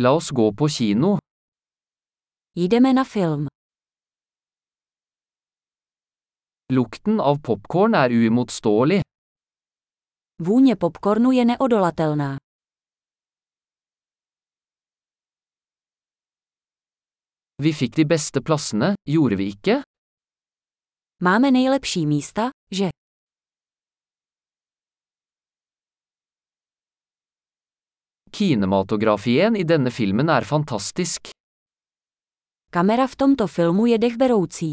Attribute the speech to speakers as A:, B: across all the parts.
A: La oss gå på kino.
B: Jdeme na film.
A: Lukten av popcorn er uimotståelig.
B: Vůně popcornu je neodolatelná.
A: Vi fikk de beste plassene, gjorde vi ikke?
B: Máme nejlepší místa, že?
A: Kinematografien i denne filmen er fantastisk.
B: Kamera v tomto filmu je dechberoucí.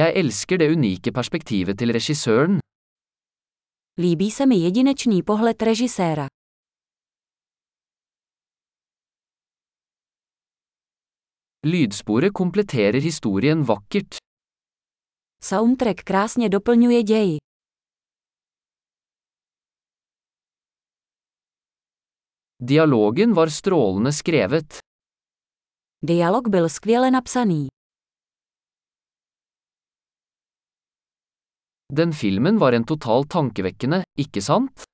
A: Jeg elsker det unike perspektivet til regissøren.
B: Líbí se mi jedinečný pohled režiséra.
A: Lydsporet kompletterer historien vakkert.
B: Soundtrack krásně doplňuje ději.
A: Dialogen var strålende skrevet.
B: Dialog byl skvěle napsaný.
A: Den filmen var en total tankevekkende, ikke sant?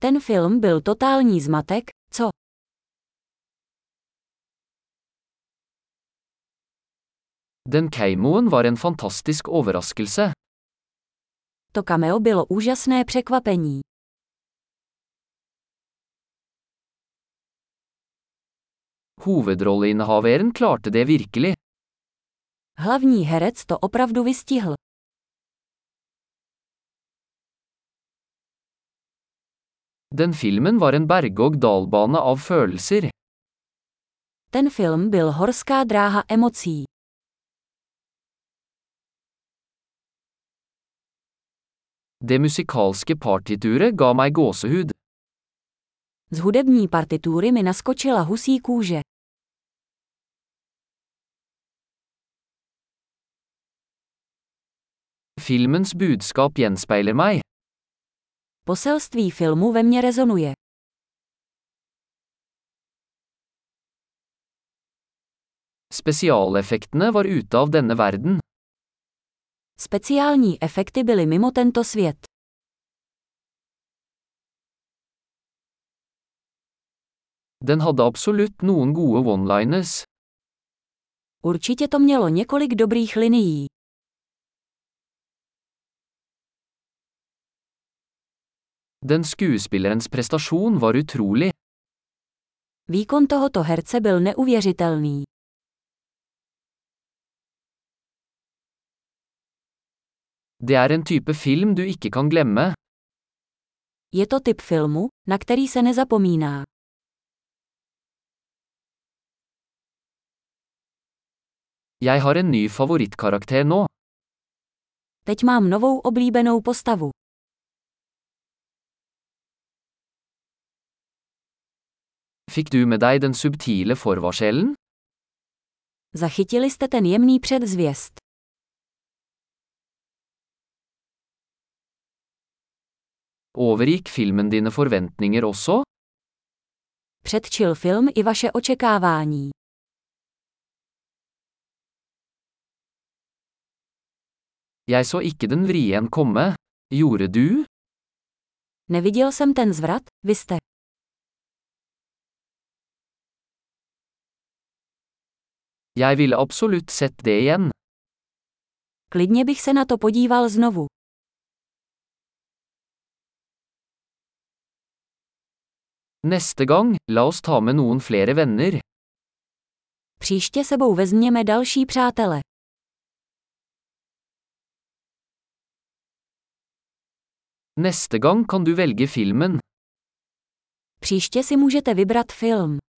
B: Ten film byl totální zmatek, co?
A: Den keimoen var en fantastisk overraskelse.
B: To cameo bylo úžasné překvapení.
A: Hovedrolleinnehaveren klarte det virkelig.
B: Hlavní herec to opravdu vystihl.
A: Den filmen var en berg-og-dal-bane av følelser.
B: Ten film byl horská dráha emocí.
A: Det musikalske partituret ga meg gåsehud.
B: Z hudební partitury mi naskočila husí kůže.
A: Filmens budskap gjenspeiler meg.
B: Poselství filmu ve mně rezonuje.
A: Spesialeffektene var ute av denne verden.
B: Speciální efekty byly mimo tento svět.
A: Den hadde absolutt noen gode one-liners.
B: Určitě to mělo několik dobrých linií.
A: Den skuespillerens prestasjon var utrolig.
B: Výkon tohoto herce byl neuvěřitelný.
A: Det er en type film du ikke kan glemme.
B: Je to typ filmu, na který se nezapomíná.
A: Jeg har en ny favorittkarakter nå.
B: Teď mám novou oblíbenou postavu.
A: Fikk du med deg den subtile forvarselen?
B: Zachytili jste ten jemný předzvěst.
A: Overgikk filmen dine forventninger også?
B: Předčil film i vaše očekávání.
A: Jeg så ikke den vrien komme. Gjorde du?
B: Neviděl jsem ten zvrat, vy jste.
A: Jeg ville absolutt sett det igjen.
B: Klidně bych se na to podíval znovu.
A: Neste gang, la oss ta med noen flere venner.
B: Příště sebou vezměme další přátele.
A: Neste gang kan du velge filmen.
B: Příště si můžete vybrat film.